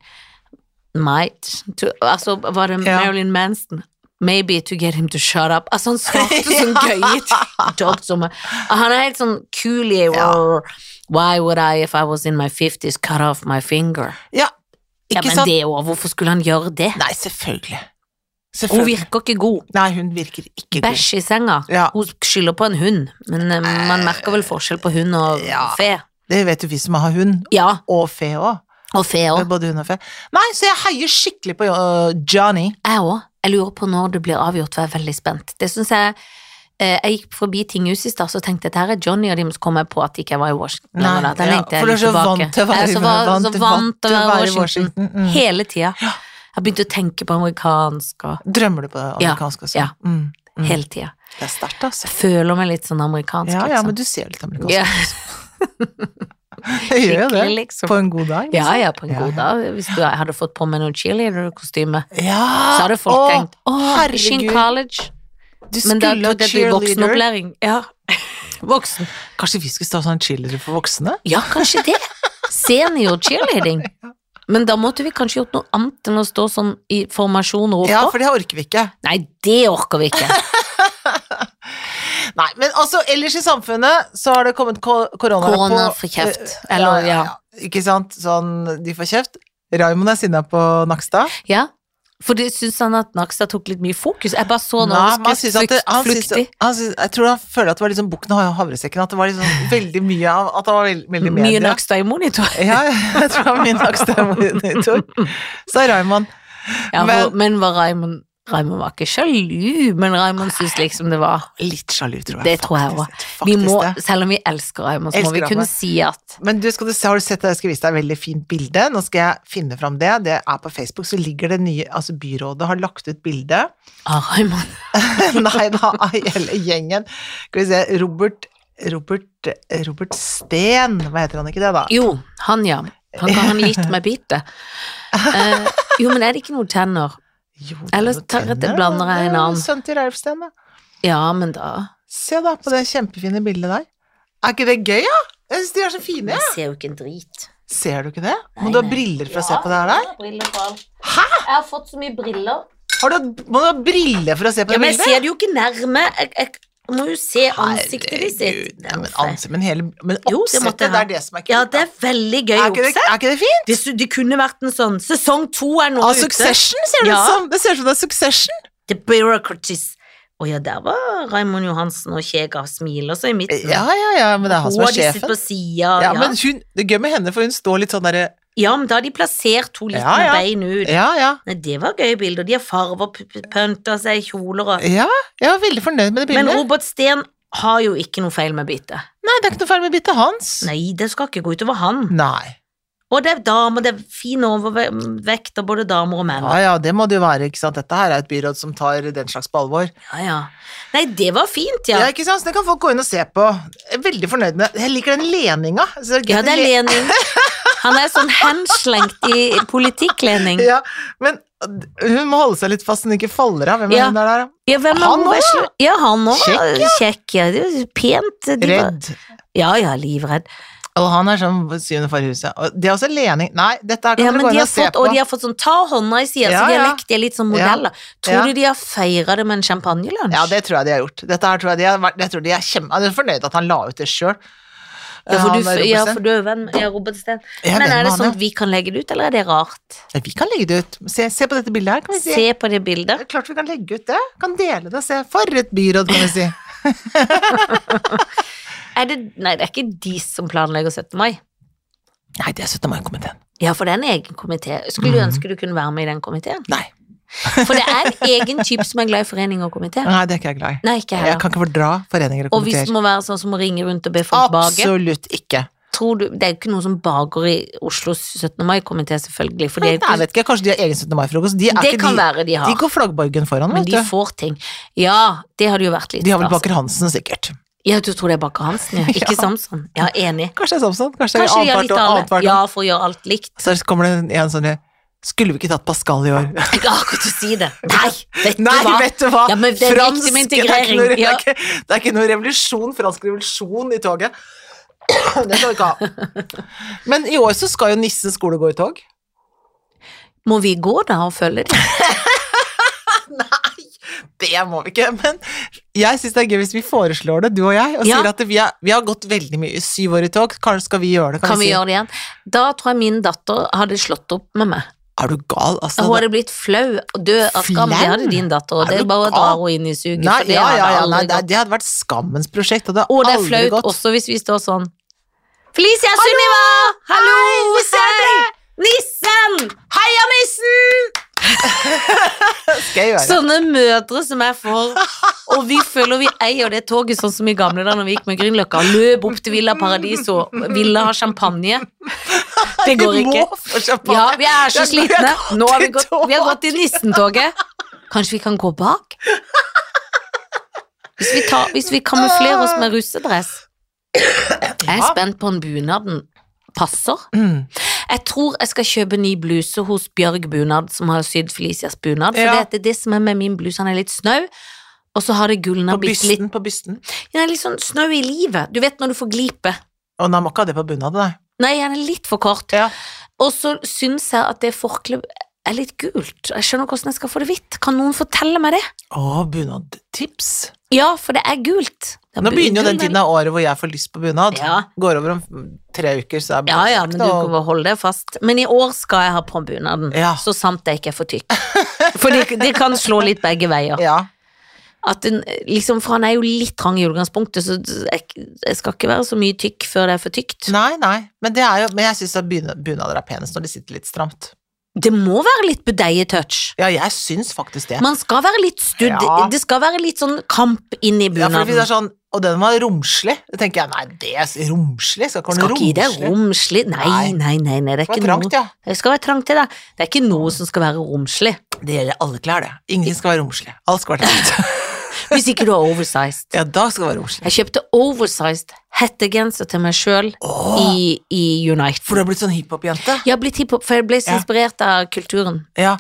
Speaker 1: Might. To, altså, var det
Speaker 2: Ja.
Speaker 1: Marilyn Manson? Maybe to get him to shut up. Altså, han svarte sånn gøye ting. Dogs som er- Han er helt sånn cool i Why would I, if I was in my 50s, cut off my finger?
Speaker 2: Ja,
Speaker 1: Ja,
Speaker 2: ikke
Speaker 1: men
Speaker 2: sant?
Speaker 1: det òg, hvorfor skulle han gjøre det?
Speaker 2: Nei, selvfølgelig.
Speaker 1: Hun
Speaker 2: Selvfølgelig.
Speaker 1: virker ikke god.
Speaker 2: Nei, hun virker ikke god.
Speaker 1: Bæsj i senga.
Speaker 2: Ja,
Speaker 1: Hun skylder på en hund, men eh, man merker vel forskjell på hund og
Speaker 2: Ja.
Speaker 1: fe.
Speaker 2: det vet jo vi som har hund.
Speaker 1: Ja,
Speaker 2: Og fe òg.
Speaker 1: og fe òg.
Speaker 2: Både hund og fe. Nei, så jeg heier skikkelig på øh, Johnny.
Speaker 1: Jeg òg. Jeg lurer på når det blir avgjort, for jeg er veldig spent. Det synes jeg eh, Jeg gikk forbi tinghuset i stad og tenkte at her er Johnny og de så kom jeg på at ikke jeg var i Washington.
Speaker 2: Nei,
Speaker 1: lenger da. Da
Speaker 2: ja,
Speaker 1: lengter jeg
Speaker 2: for du er
Speaker 1: litt
Speaker 2: så
Speaker 1: tilbake.
Speaker 2: vant til å være-
Speaker 1: Jeg er så, va-
Speaker 2: vant-
Speaker 1: så vant til å være i Washington.
Speaker 2: Washington. Mm.
Speaker 1: Hele tida. Jeg begynte å tenke på amerikansk og
Speaker 2: Drømmer du på det amerikanske også?
Speaker 1: ja.
Speaker 2: Mm. Mm.
Speaker 1: hele tida.
Speaker 2: Det er sterkt, altså.
Speaker 1: Jeg føler meg litt sånn amerikansk,
Speaker 2: Ja, ja, men
Speaker 1: liksom.
Speaker 2: du ser litt amerikansk
Speaker 1: Ja,
Speaker 2: ut. Jeg gjør jo det.
Speaker 1: skikkelig, liksom.
Speaker 2: På en god dag. liksom.
Speaker 1: Ja, ja, på en
Speaker 2: Ja,
Speaker 1: god dag. Hvis du hadde fått på meg noe cheerleader-kostyme,
Speaker 2: Ja!
Speaker 1: så hadde folk
Speaker 2: Å,
Speaker 1: tenkt Å, er ikke in
Speaker 2: Ah, herregud.
Speaker 1: college.
Speaker 2: Du
Speaker 1: Men da
Speaker 2: skulle ha
Speaker 1: trodde jeg at du
Speaker 2: cheerleader.
Speaker 1: voksenopplæring. Ja. Voksen.
Speaker 2: Kanskje vi skulle starte sånn cheerleader for voksne?
Speaker 1: Ja, kanskje det. Senior cheerleading. Men da måtte vi kanskje gjort noe annet enn å stå sånn i formasjon og rope.
Speaker 2: Ja, for det orker vi ikke.
Speaker 1: Nei, det orker vi ikke.
Speaker 2: Nei, men altså, ellers i samfunnet så har det kommet ko korona på Eh,
Speaker 1: Korona får kjeft. Eller, ja.
Speaker 2: Ikke sant? Sånn, de får kjeft. Raymond er sinna på Nakstad.
Speaker 1: Ja. For det syns han at Nakstad tok litt mye fokus. Jeg bare så
Speaker 2: Nei,
Speaker 1: nå
Speaker 2: men han synes at det, han synes,
Speaker 1: flyktig.
Speaker 2: han synes, jeg tror han føler at det var liksom bukken og havresekken, at det var liksom veldig mye av At det var veld, veldig
Speaker 1: Mye
Speaker 2: media.
Speaker 1: Nakstad i monitor.
Speaker 2: Ja, jeg tror han min Nakstad er monitor. Så er Raymond
Speaker 1: Ja,
Speaker 2: Men-
Speaker 1: hvor, men var Raymond Raymond var ikke sjalu, men Raymond syntes liksom det var
Speaker 2: litt sjalu, tror jeg.
Speaker 1: Det tror jeg
Speaker 2: faktisk.
Speaker 1: vi
Speaker 2: Faktisk
Speaker 1: må,
Speaker 2: det.
Speaker 1: Selv om vi elsker Raymond, så må
Speaker 2: Elsker
Speaker 1: vi kunne
Speaker 2: Raymond.
Speaker 1: si at
Speaker 2: Men du, skal du se, har du sett det? Jeg skal vise deg et veldig fint bilde. Nå skal jeg finne fram det. Det er på Facebook, så ligger det nye Altså, byrådet har lagt ut bilde.
Speaker 1: ah, Raymond
Speaker 2: Nei da, av hele gjengen. Skal vi se, Robert Robert, Robert Steen, hva heter han ikke det, da?
Speaker 1: Jo, han ja. Han kan han gitt meg bite. Eh, jo, men er det ikke noen tenner?
Speaker 2: Jo,
Speaker 1: Ellers
Speaker 2: det er
Speaker 1: tar jeg-
Speaker 2: tenner,
Speaker 1: blander jeg en
Speaker 2: da. Det er jo
Speaker 1: annen.
Speaker 2: Sønnen til Ralf Steen, da.
Speaker 1: Ja, men da
Speaker 2: Se da på det kjempefine bildet der. Er ikke det gøy, da? Jeg syns de er så fine.
Speaker 1: Jeg
Speaker 2: Ja.
Speaker 1: ser jo ikke en drit.
Speaker 2: Ser du ikke det?
Speaker 1: Nei,
Speaker 2: Må du ha
Speaker 1: nei.
Speaker 2: briller for å se på det her der?
Speaker 1: Hæ?! Jeg har fått så mye briller.
Speaker 2: Har du, må du ha briller for å se på
Speaker 1: Ja,
Speaker 2: det
Speaker 1: Men jeg
Speaker 2: bildet?
Speaker 1: ser det jo ikke nærme. Jeg, jeg Du må jo se ansiktet ditt.
Speaker 2: Herregud,
Speaker 1: Det
Speaker 2: ja,
Speaker 1: er
Speaker 2: men,
Speaker 1: jo fett.
Speaker 2: ansikt, men, hele, men
Speaker 1: Jo, det måtte
Speaker 2: oppsettet,
Speaker 1: jeg
Speaker 2: det
Speaker 1: ha.
Speaker 2: er det som er kult.
Speaker 1: Ja,
Speaker 2: da.
Speaker 1: det er veldig gøy
Speaker 2: er ikke det,
Speaker 1: oppsett.
Speaker 2: er ikke det fint?
Speaker 1: Det, su- det kunne vært en sånn Sesong to er nå
Speaker 2: Av
Speaker 1: ute.
Speaker 2: Succession, ser det
Speaker 1: Ja.
Speaker 2: ut som. Det ser ut som det er Succession.
Speaker 1: The Bureaucracies. Å ja, der var Raymond Johansen og Kjega smiler seg i midten.
Speaker 2: Ja, ja, ja, men det er han
Speaker 1: Hun
Speaker 2: som
Speaker 1: har de
Speaker 2: er
Speaker 1: sitter
Speaker 2: sjefen.
Speaker 1: på sida.
Speaker 2: Ja,
Speaker 1: Ja,
Speaker 2: men hun, det er gøy med henne, for hun står litt sånn derre
Speaker 1: ja, men da har de plassert to litt
Speaker 2: Ja, ja. Eh.
Speaker 1: med bein ut.
Speaker 2: Ja, ja.
Speaker 1: Nei, det var gøye bilder. De har farver, p- p- pynta seg, kjoler og
Speaker 2: Ja, jeg var veldig fornøyd med det
Speaker 1: Men
Speaker 2: bildet.
Speaker 1: Robert Steen har jo ikke noe feil med bittet.
Speaker 2: Nei, det er ikke noe feil med bittet hans.
Speaker 1: Nei, det skal ikke gå utover han.
Speaker 2: Nei.
Speaker 1: Og det er damer, det er fin overvekt av både damer og menn.
Speaker 2: Ja, ja, det må det jo være, ikke sant. Dette her er et byråd som tar den slags på alvor.
Speaker 1: Ja, ja. Nei, det var fint,
Speaker 2: Ja,
Speaker 1: ja.
Speaker 2: ikke sant, så det kan folk gå inn og se på. Jeg er veldig fornøyd med det. Jeg liker den leninga. Så gøy
Speaker 1: Ja,
Speaker 2: med
Speaker 1: det er
Speaker 2: le-
Speaker 1: Lening. Han er sånn henslengt i politikk-Lening.
Speaker 2: Ja, men hun må holde seg litt fast så hun ikke faller av. Hvem er
Speaker 1: Ja.
Speaker 2: hun der, da?
Speaker 1: Ja, hvem er
Speaker 2: Han
Speaker 1: hun
Speaker 2: også?
Speaker 1: vesle? Ja, han òg.
Speaker 2: Kjekk,
Speaker 1: Kjekk, ja. Kjekk, ja. Det er jo pent. De var-
Speaker 2: Redd.
Speaker 1: Ja, ja, livredd.
Speaker 2: Og han er sånn på syvende for huset. Og det er også lening. Nei, dette her kan
Speaker 1: Ja,
Speaker 2: dere
Speaker 1: men
Speaker 2: gå
Speaker 1: de
Speaker 2: inn
Speaker 1: har
Speaker 2: og se
Speaker 1: fått,
Speaker 2: på.
Speaker 1: og de har fått sånn ta hånda i sida,
Speaker 2: Ja,
Speaker 1: så de har
Speaker 2: ja.
Speaker 1: lekt de er litt som
Speaker 2: Ja.
Speaker 1: modeller. Tror
Speaker 2: Ja.
Speaker 1: du de har feira det med en champagnelunsj?
Speaker 2: Ja, det tror jeg de har gjort. Dette her tror jeg de har vært Jeg tror de er kjempe... Jeg er fornøyd at han la ut det sjøl.
Speaker 1: Ja, for du, ja, for du er jo venn med ja, Robert Steen. Men er det sånn at vi kan legge det ut, eller er det rart?
Speaker 2: Ja, vi kan legge det ut. Se, se på dette bildet her, kan vi si.
Speaker 1: Se på det bildet.
Speaker 2: Det er Klart vi kan legge ut det. Kan dele det. Se, for et byråd, kan vi si.
Speaker 1: Er det, nei, det er ikke de som planlegger 17. mai.
Speaker 2: Nei, det er 17. mai-komiteen.
Speaker 1: Ja, for det er en egen komité. Skulle du
Speaker 2: Mhm.
Speaker 1: ønske du kunne være med i den komiteen?
Speaker 2: Nei.
Speaker 1: For det er en egen type som er glad i foreninger og komiteer.
Speaker 2: Nei, det er ikke jeg glad i.
Speaker 1: Nei, ikke jeg
Speaker 2: Jeg
Speaker 1: heller.
Speaker 2: kan ikke fordra foreninger og
Speaker 1: Og hvis det
Speaker 2: komiteer.
Speaker 1: må være sånn som å ringe rundt og be folk bake
Speaker 2: Absolutt ikke.
Speaker 1: tror du, Det er jo ikke noen som baker i Oslos 17. mai-komité, selvfølgelig. For det,
Speaker 2: Nei,
Speaker 1: er jo
Speaker 2: jeg
Speaker 1: ikke,
Speaker 2: vet ikke, Kanskje de har egen 17. mai-frokost. De, er
Speaker 1: det
Speaker 2: ikke
Speaker 1: kan
Speaker 2: de,
Speaker 1: være de
Speaker 2: de
Speaker 1: har,
Speaker 2: går flaggborgen foran,
Speaker 1: men
Speaker 2: vet
Speaker 1: de
Speaker 2: du.
Speaker 1: får ting. Ja, det hadde jo vært litt
Speaker 2: De har vel
Speaker 1: stas.
Speaker 2: Baker Hansen, sikkert.
Speaker 1: Ja, du tror det er Baker Hansen, ja. ikke
Speaker 2: Ja.
Speaker 1: Samson? Ja, enig.
Speaker 2: Kanskje det er Samson? Kanskje,
Speaker 1: Kanskje de har litt
Speaker 2: det er
Speaker 1: av
Speaker 2: annethvert
Speaker 1: det.
Speaker 2: år?
Speaker 1: Ja, for å gjøre alt likt.
Speaker 2: Så kommer det en- en sånn Skulle vi ikke tatt Pascal i år?
Speaker 1: Jeg har akkurat å si det. Nei, vet du
Speaker 2: Nei,
Speaker 1: hva?
Speaker 2: vet du hva!
Speaker 1: Ja, men det er
Speaker 2: Fransk,
Speaker 1: viktig med
Speaker 2: det er ikke noe-
Speaker 1: integrering. Ja.
Speaker 2: Det, er ikke, det er ikke noe revolusjon, fransk revolusjon i toget. Det skal vi ikke ha. Men i år så skal jo Nissen skole gå i tog.
Speaker 1: Må vi gå da og følge dem?
Speaker 2: Nei, det må vi ikke. Men jeg syns det er gøy hvis vi foreslår det, du og jeg, og
Speaker 1: Ja.
Speaker 2: sier at vi, er, vi har gått veldig mye i syv år i tog, kanskje skal vi gjøre det?
Speaker 1: Kan vi
Speaker 2: si.
Speaker 1: gjøre det igjen? Da tror jeg min datter hadde slått opp med meg.
Speaker 2: Er du gal, altså?
Speaker 1: Hun hadde blitt flau og død av skam. Det
Speaker 2: Flau?
Speaker 1: hadde din datter,
Speaker 2: Er
Speaker 1: og det
Speaker 2: du
Speaker 1: er bare å
Speaker 2: gal?
Speaker 1: dra henne inn i suget.
Speaker 2: Nei,
Speaker 1: for det
Speaker 2: ja,
Speaker 1: hadde
Speaker 2: ja, ja, nei,
Speaker 1: aldri
Speaker 2: det,
Speaker 1: gått.
Speaker 2: det hadde vært skammens prosjekt, og det
Speaker 1: Og det
Speaker 2: hadde
Speaker 1: er
Speaker 2: aldri
Speaker 1: flaut
Speaker 2: gått.
Speaker 1: også hvis vi står sånn Felicia Sunniva! Hallo!
Speaker 2: vi ser
Speaker 1: hei! Nissen!
Speaker 2: Heia nissen! Skal jeg gjøre.
Speaker 1: Sånne mødre som jeg får, og vi føler vi eier det toget sånn som i gamle dager når vi gikk med Grünerløkka. Løp opp til Villa Paradiso, ville ha champagne. Det går
Speaker 2: Vi
Speaker 1: ikke.
Speaker 2: må få champagne.
Speaker 1: Ja, vi er så
Speaker 2: Ja, vi har
Speaker 1: slitne.
Speaker 2: gått
Speaker 1: Nå har vi
Speaker 2: i
Speaker 1: gått,
Speaker 2: tog.
Speaker 1: vi har gått i nissentoget. Kanskje vi kan gå bak? Hvis vi, tar, hvis vi kamuflerer oss med russedress. Jeg er
Speaker 2: Ja.
Speaker 1: spent på om bunaden passer.
Speaker 2: Mm.
Speaker 1: Jeg tror jeg skal kjøpe ny bluse hos Bjørg Bunad, som har sydd Felicias bunad. For
Speaker 2: Ja.
Speaker 1: det, er det som er med min bluse, han er litt snau. Og så har det
Speaker 2: På
Speaker 1: gulna bitte litt
Speaker 2: bysten, på bysten.
Speaker 1: Den er litt sånn snau i livet. Du vet når du får glipe.
Speaker 2: Å, nei, må ikke ha det på bunaden, nei.
Speaker 1: Nei, den er litt for kort.
Speaker 2: Ja.
Speaker 1: Og så syns jeg at det forkleet er litt gult. Jeg skjønner ikke hvordan jeg skal få det hvitt. Kan noen fortelle meg det?
Speaker 2: Å, bunadtips.
Speaker 1: Ja, for det er gult. Det er
Speaker 2: Nå begynner jo den
Speaker 1: gul-
Speaker 2: tiden av året hvor jeg får lyst på bunad.
Speaker 1: Ja.
Speaker 2: Går over om tre uker, så er
Speaker 1: Ja, ja, men du kan bare holde deg fast. Men i år skal jeg ha på bunaden,
Speaker 2: Ja.
Speaker 1: så sant jeg ikke er for tykk. For det, det kan slå litt begge veier.
Speaker 2: ja.
Speaker 1: At den, liksom, for han er jo litt trang i utgangspunktet, så jeg, jeg skal ikke være så mye tykk før det er for tykt.
Speaker 2: Nei, nei. Men, det er jo, men jeg syns bunader er penest når de sitter litt stramt.
Speaker 1: Det må være litt budeie-touch.
Speaker 2: Ja, jeg syns faktisk det.
Speaker 1: Man skal være litt studd,
Speaker 2: Ja.
Speaker 1: det skal være litt sånn kamp inni
Speaker 2: Ja, for hvis det
Speaker 1: bunaden.
Speaker 2: er sånn, og den var romslig, da tenker jeg nei, det er romslig, skal ikke ha
Speaker 1: skal
Speaker 2: noe
Speaker 1: ikke gi deg
Speaker 2: sånn
Speaker 1: romslig
Speaker 2: romslig.
Speaker 1: Nei, nei, nei, nei det,
Speaker 2: Det
Speaker 1: er
Speaker 2: var
Speaker 1: ikke
Speaker 2: trangt,
Speaker 1: noe,
Speaker 2: ja.
Speaker 1: det skal være trangt til det. Det er ikke noe som skal være romslig,
Speaker 2: Det gjelder alle klær, det. Ingen skal være romslig. Alt skal være trangt.
Speaker 1: hvis ikke du er oversized.
Speaker 2: Ja, da skal det være romslig.
Speaker 1: Jeg kjøpte oversized hettegenser til meg sjøl
Speaker 2: Åh,
Speaker 1: i, i Unite.
Speaker 2: for du har blitt sånn hiphop-jente.
Speaker 1: Jeg har blitt hiphop, for jeg ble så
Speaker 2: Ja.
Speaker 1: inspirert av kulturen.
Speaker 2: Ja.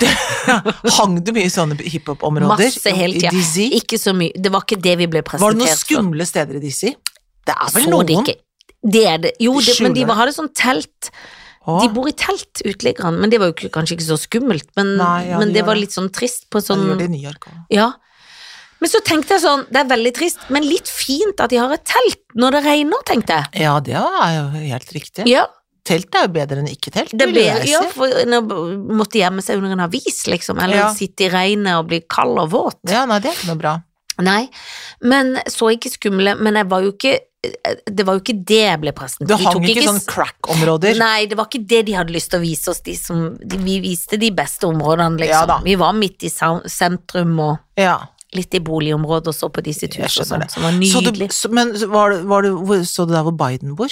Speaker 2: Hang du mye i sånne hiphop-områder?
Speaker 1: Masse hele
Speaker 2: I
Speaker 1: tida.
Speaker 2: DC?
Speaker 1: Ikke så mye. Det var ikke det vi ble presentert
Speaker 2: Var det noen
Speaker 1: for.
Speaker 2: skumle steder i DC? Det er vel
Speaker 1: Så
Speaker 2: noen?
Speaker 1: Det, ikke. det er det. Jo,
Speaker 2: De
Speaker 1: det, men de
Speaker 2: skjuler det.
Speaker 1: hadde sånn telt.
Speaker 2: Åh,
Speaker 1: De bor i telt, uteliggerne. Men det var jo ikke- kanskje ikke så skummelt, men,
Speaker 2: Nei, ja,
Speaker 1: men
Speaker 2: de
Speaker 1: det
Speaker 2: gjør
Speaker 1: var
Speaker 2: det.
Speaker 1: litt sånn trist på
Speaker 2: ja, de
Speaker 1: sånn
Speaker 2: gjør det i New York også.
Speaker 1: Ja. Men så tenkte jeg sånn, det er veldig trist, men litt fint at de har et telt når det regner, tenkte jeg.
Speaker 2: Ja, det er jo helt riktig.
Speaker 1: Ja,
Speaker 2: Telt er jo bedre enn ikke telt,
Speaker 1: det
Speaker 2: vil
Speaker 1: ble,
Speaker 2: jeg
Speaker 1: ja
Speaker 2: si.
Speaker 1: for nå b- måtte gjemme seg under en avis, liksom, eller
Speaker 2: Ja.
Speaker 1: sitte i regnet og bli kald og våt.
Speaker 2: Ja, nei, det er ikke noe bra.
Speaker 1: Nei, men så ikke skumle, men jeg var jo ikke, det var jo ikke det jeg ble presentert.
Speaker 2: Det
Speaker 1: De
Speaker 2: hang
Speaker 1: tok
Speaker 2: ikke sånn
Speaker 1: s-
Speaker 2: crack-områder.
Speaker 1: Nei, det var ikke det de hadde lyst til å vise oss. De som, de, vi viste de beste områdene,
Speaker 2: Ja
Speaker 1: liksom.
Speaker 2: da.
Speaker 1: vi var midt i sa- sentrum og
Speaker 2: Ja.
Speaker 1: litt i boligområdet og så på disse husene
Speaker 2: Jeg
Speaker 1: og
Speaker 2: skjønner
Speaker 1: sånn,
Speaker 2: det.
Speaker 1: som var
Speaker 2: Så du,
Speaker 1: nydelig.
Speaker 2: så, men var, det- var det, hvor, så du der hvor Biden bor?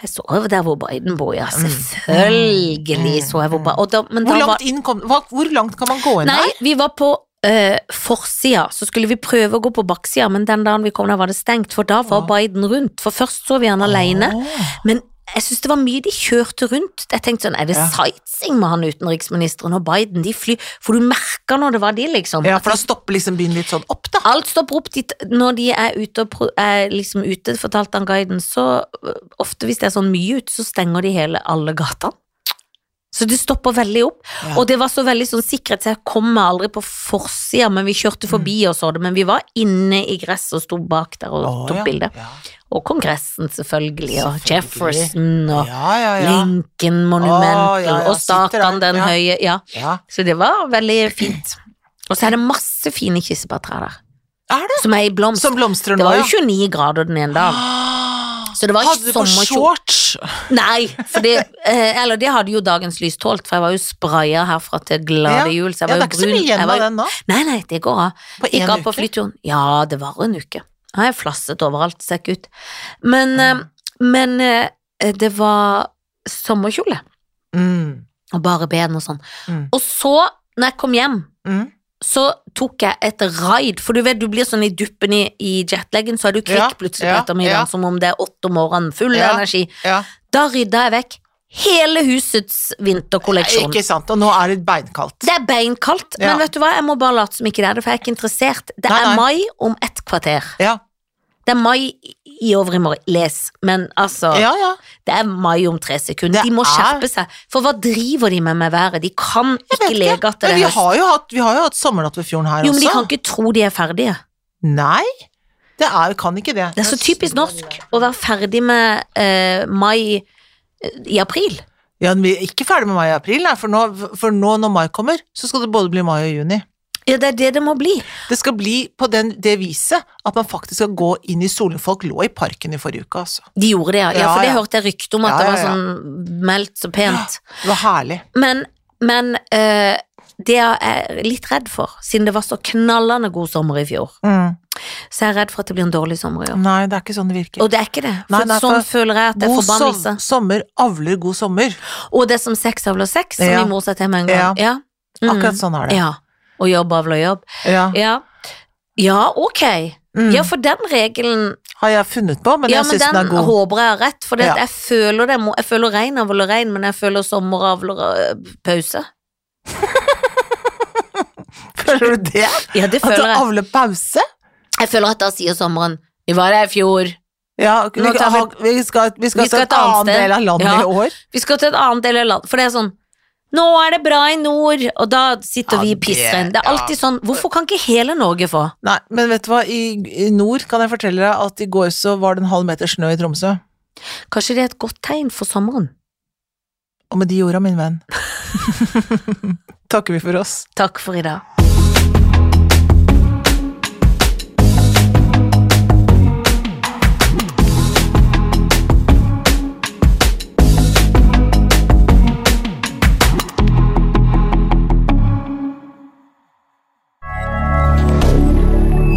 Speaker 1: Jeg så jo der hvor Biden bor, ja.
Speaker 2: Mm.
Speaker 1: Selvfølgelig
Speaker 2: Mm.
Speaker 1: så jeg hvor Biden og da, men
Speaker 2: Hvor
Speaker 1: da
Speaker 2: langt,
Speaker 1: var-
Speaker 2: inn kom, hva, hvor langt kan man gå inn
Speaker 1: Nei,
Speaker 2: der?
Speaker 1: vi var på eh, forsida, så skulle vi prøve å gå på baksida, men den dagen vi kom der var det stengt, for da var
Speaker 2: Åh.
Speaker 1: Biden rundt. For først så vi han alene,
Speaker 2: Åh.
Speaker 1: men jeg syns det var mye de kjørte rundt. Jeg tenkte sånn, er det
Speaker 2: Ja.
Speaker 1: sightseeing med han utenriksministeren og Biden? De fly, for du merka når det var de, liksom.
Speaker 2: Ja, for da stopper liksom byen litt sånn opp, da.
Speaker 1: Alt stopper opp dit når de er ute og pro- er liksom ute, fortalte han guiden, så øh, ofte hvis det er sånn mye ute, så stenger de hele alle gatene. Så det stopper veldig opp.
Speaker 2: Ja.
Speaker 1: Og det var så veldig sånn sikkerhet, så jeg kom meg aldri på forsida, men vi
Speaker 2: Mm.
Speaker 1: kjørte forbi og så det, men vi var inne i gresset og sto bak der og
Speaker 2: Åh,
Speaker 1: tok
Speaker 2: ja.
Speaker 1: bilde.
Speaker 2: Ja.
Speaker 1: Og Kongressen, selvfølgelig, og
Speaker 2: Selvfølgelig.
Speaker 1: Jefferson og
Speaker 2: Ja, ja, ja. Åh,
Speaker 1: Lincoln-monumentet
Speaker 2: ja, ja,
Speaker 1: og stakan
Speaker 2: sitter der,
Speaker 1: den
Speaker 2: ja.
Speaker 1: høye, ja.
Speaker 2: ja.
Speaker 1: Så det var veldig fint. Og så er det masse fine kirsebærtrær der.
Speaker 2: Er det?
Speaker 1: Som er i blomst.
Speaker 2: Som blomstrer
Speaker 1: Det
Speaker 2: nå,
Speaker 1: var
Speaker 2: ja.
Speaker 1: jo 29 grader den ene dagen.
Speaker 2: Ah.
Speaker 1: Så det var
Speaker 2: Hadde du på
Speaker 1: sommerkjole.
Speaker 2: shorts?
Speaker 1: Nei, for det, eh, eller det hadde jo dagens lys tålt, for jeg var jo spraya herfra til glade jul. Så jeg
Speaker 2: Ja, det
Speaker 1: var
Speaker 2: er
Speaker 1: jo
Speaker 2: ikke så
Speaker 1: brun.
Speaker 2: mye
Speaker 1: Jeg
Speaker 2: igjen
Speaker 1: var,
Speaker 2: av den nå.
Speaker 1: nei, nei, det går av.
Speaker 2: På
Speaker 1: Gikk
Speaker 2: en
Speaker 1: av på
Speaker 2: uke.
Speaker 1: flyturen. Ja, det var en uke. Jeg har flasset overalt, ser ikke ut. Men, eh,
Speaker 2: Mm.
Speaker 1: men eh, det var sommerkjole,
Speaker 2: Mm.
Speaker 1: og bare ben og sånn.
Speaker 2: Mm.
Speaker 1: Og så, når jeg kom hjem,
Speaker 2: Mm.
Speaker 1: så tok jeg et raid, for du vet du blir sånn i duppen i, i jetlaggen, så er du kvikk
Speaker 2: Ja,
Speaker 1: plutselig på
Speaker 2: ja,
Speaker 1: ettermiddagen
Speaker 2: ja.
Speaker 1: som om det er åtte om morgenen, full
Speaker 2: Ja.
Speaker 1: energi.
Speaker 2: Ja.
Speaker 1: Da rydda jeg vekk hele husets vinterkolleksjon.
Speaker 2: Ikke sant. Og nå er det beinkaldt.
Speaker 1: Det er beinkaldt,
Speaker 2: Ja.
Speaker 1: men vet du hva, jeg må bare late som ikke det er det, for jeg er ikke interessert. Det
Speaker 2: Nei,
Speaker 1: er
Speaker 2: nei.
Speaker 1: mai om ett kvarter.
Speaker 2: Ja,
Speaker 1: Det er mai i over i morgen. Les. Men altså,
Speaker 2: ja. ja.
Speaker 1: det er mai om tre sekunder.
Speaker 2: Det
Speaker 1: De må
Speaker 2: er-
Speaker 1: skjerpe seg. For hva driver de med med været? De kan ikke
Speaker 2: vet
Speaker 1: leke at det
Speaker 2: Men
Speaker 1: er
Speaker 2: vi
Speaker 1: høst.
Speaker 2: har jo hatt, vi har jo hatt sommernatt ved fjorden her
Speaker 1: Jo, men de
Speaker 2: også.
Speaker 1: kan ikke tro de er ferdige.
Speaker 2: Nei, det er, kan ikke det.
Speaker 1: Det er så typisk norsk å være ferdig med eh, mai eh, i april.
Speaker 2: Ja, men vi er ikke ferdig med mai og april, nei, for nå, for nå når mai kommer, så skal det både bli mai og juni.
Speaker 1: Ja, det er det det må bli.
Speaker 2: Det skal bli på den, det viset at man faktisk skal gå inn i solen. Folk lå i parken i forrige uke, altså.
Speaker 1: De gjorde det, ja. ja
Speaker 2: Ja,
Speaker 1: for det
Speaker 2: ja.
Speaker 1: hørte jeg rykte om at
Speaker 2: Ja,
Speaker 1: det
Speaker 2: ja,
Speaker 1: var
Speaker 2: ja.
Speaker 1: sånn meldt så pent.
Speaker 2: Det var herlig.
Speaker 1: Men, men eh, det jeg er litt redd for, siden det var så knallende god sommer i fjor,
Speaker 2: Mm.
Speaker 1: så jeg er redd for at det blir en dårlig sommer i år.
Speaker 2: Nei, det er ikke sånn det virker.
Speaker 1: Og det er ikke det.
Speaker 2: Nei,
Speaker 1: For
Speaker 2: nei,
Speaker 1: sånn
Speaker 2: for
Speaker 1: føler jeg at det er
Speaker 2: God
Speaker 1: forbannelse.
Speaker 2: som, sommer avler god sommer.
Speaker 1: Og det er som seks avler seks, som
Speaker 2: Ja.
Speaker 1: min mor sa til meg en gang. Ja. Mm.
Speaker 2: Akkurat sånn er det.
Speaker 1: Ja. Og jobb avler jobb.
Speaker 2: Ja.
Speaker 1: Ja. Ja, ok.
Speaker 2: Mm.
Speaker 1: Ja, for den regelen
Speaker 2: Har jeg funnet på, men
Speaker 1: Ja,
Speaker 2: jeg
Speaker 1: men
Speaker 2: syns den
Speaker 1: den
Speaker 2: er god.
Speaker 1: håper jeg har rett, for
Speaker 2: Ja.
Speaker 1: jeg føler det må- Jeg føler reinavl og rein, men jeg føler sommeravler og pause.
Speaker 2: Føler du det?
Speaker 1: Ja, det
Speaker 2: At
Speaker 1: føler
Speaker 2: det
Speaker 1: jeg.
Speaker 2: avler pause?
Speaker 1: Jeg føler at da sier sommeren Vi var der i fjor.
Speaker 2: Ja, vi,
Speaker 1: Nå tar vi-
Speaker 2: ha- vi skal, vi skal,
Speaker 1: vi skal et
Speaker 2: til et
Speaker 1: annet
Speaker 2: annet
Speaker 1: sted.
Speaker 2: del av landet
Speaker 1: Ja.
Speaker 2: i år.
Speaker 1: Vi skal til et annet del av landet. For det er sånn Nå er det bra i nord, og da sitter
Speaker 2: Ja,
Speaker 1: vi i
Speaker 2: det-
Speaker 1: pissregn. Det er
Speaker 2: ja.
Speaker 1: alltid sånn Hvorfor kan ikke hele Norge få?
Speaker 2: Nei, men vet du hva, i, i nord kan jeg fortelle deg at i går så var det en halv meter snø i Tromsø.
Speaker 1: Kanskje det er et godt tegn for sommeren?
Speaker 2: Og med de orda, min venn, takker vi for oss.
Speaker 1: Takk for i dag.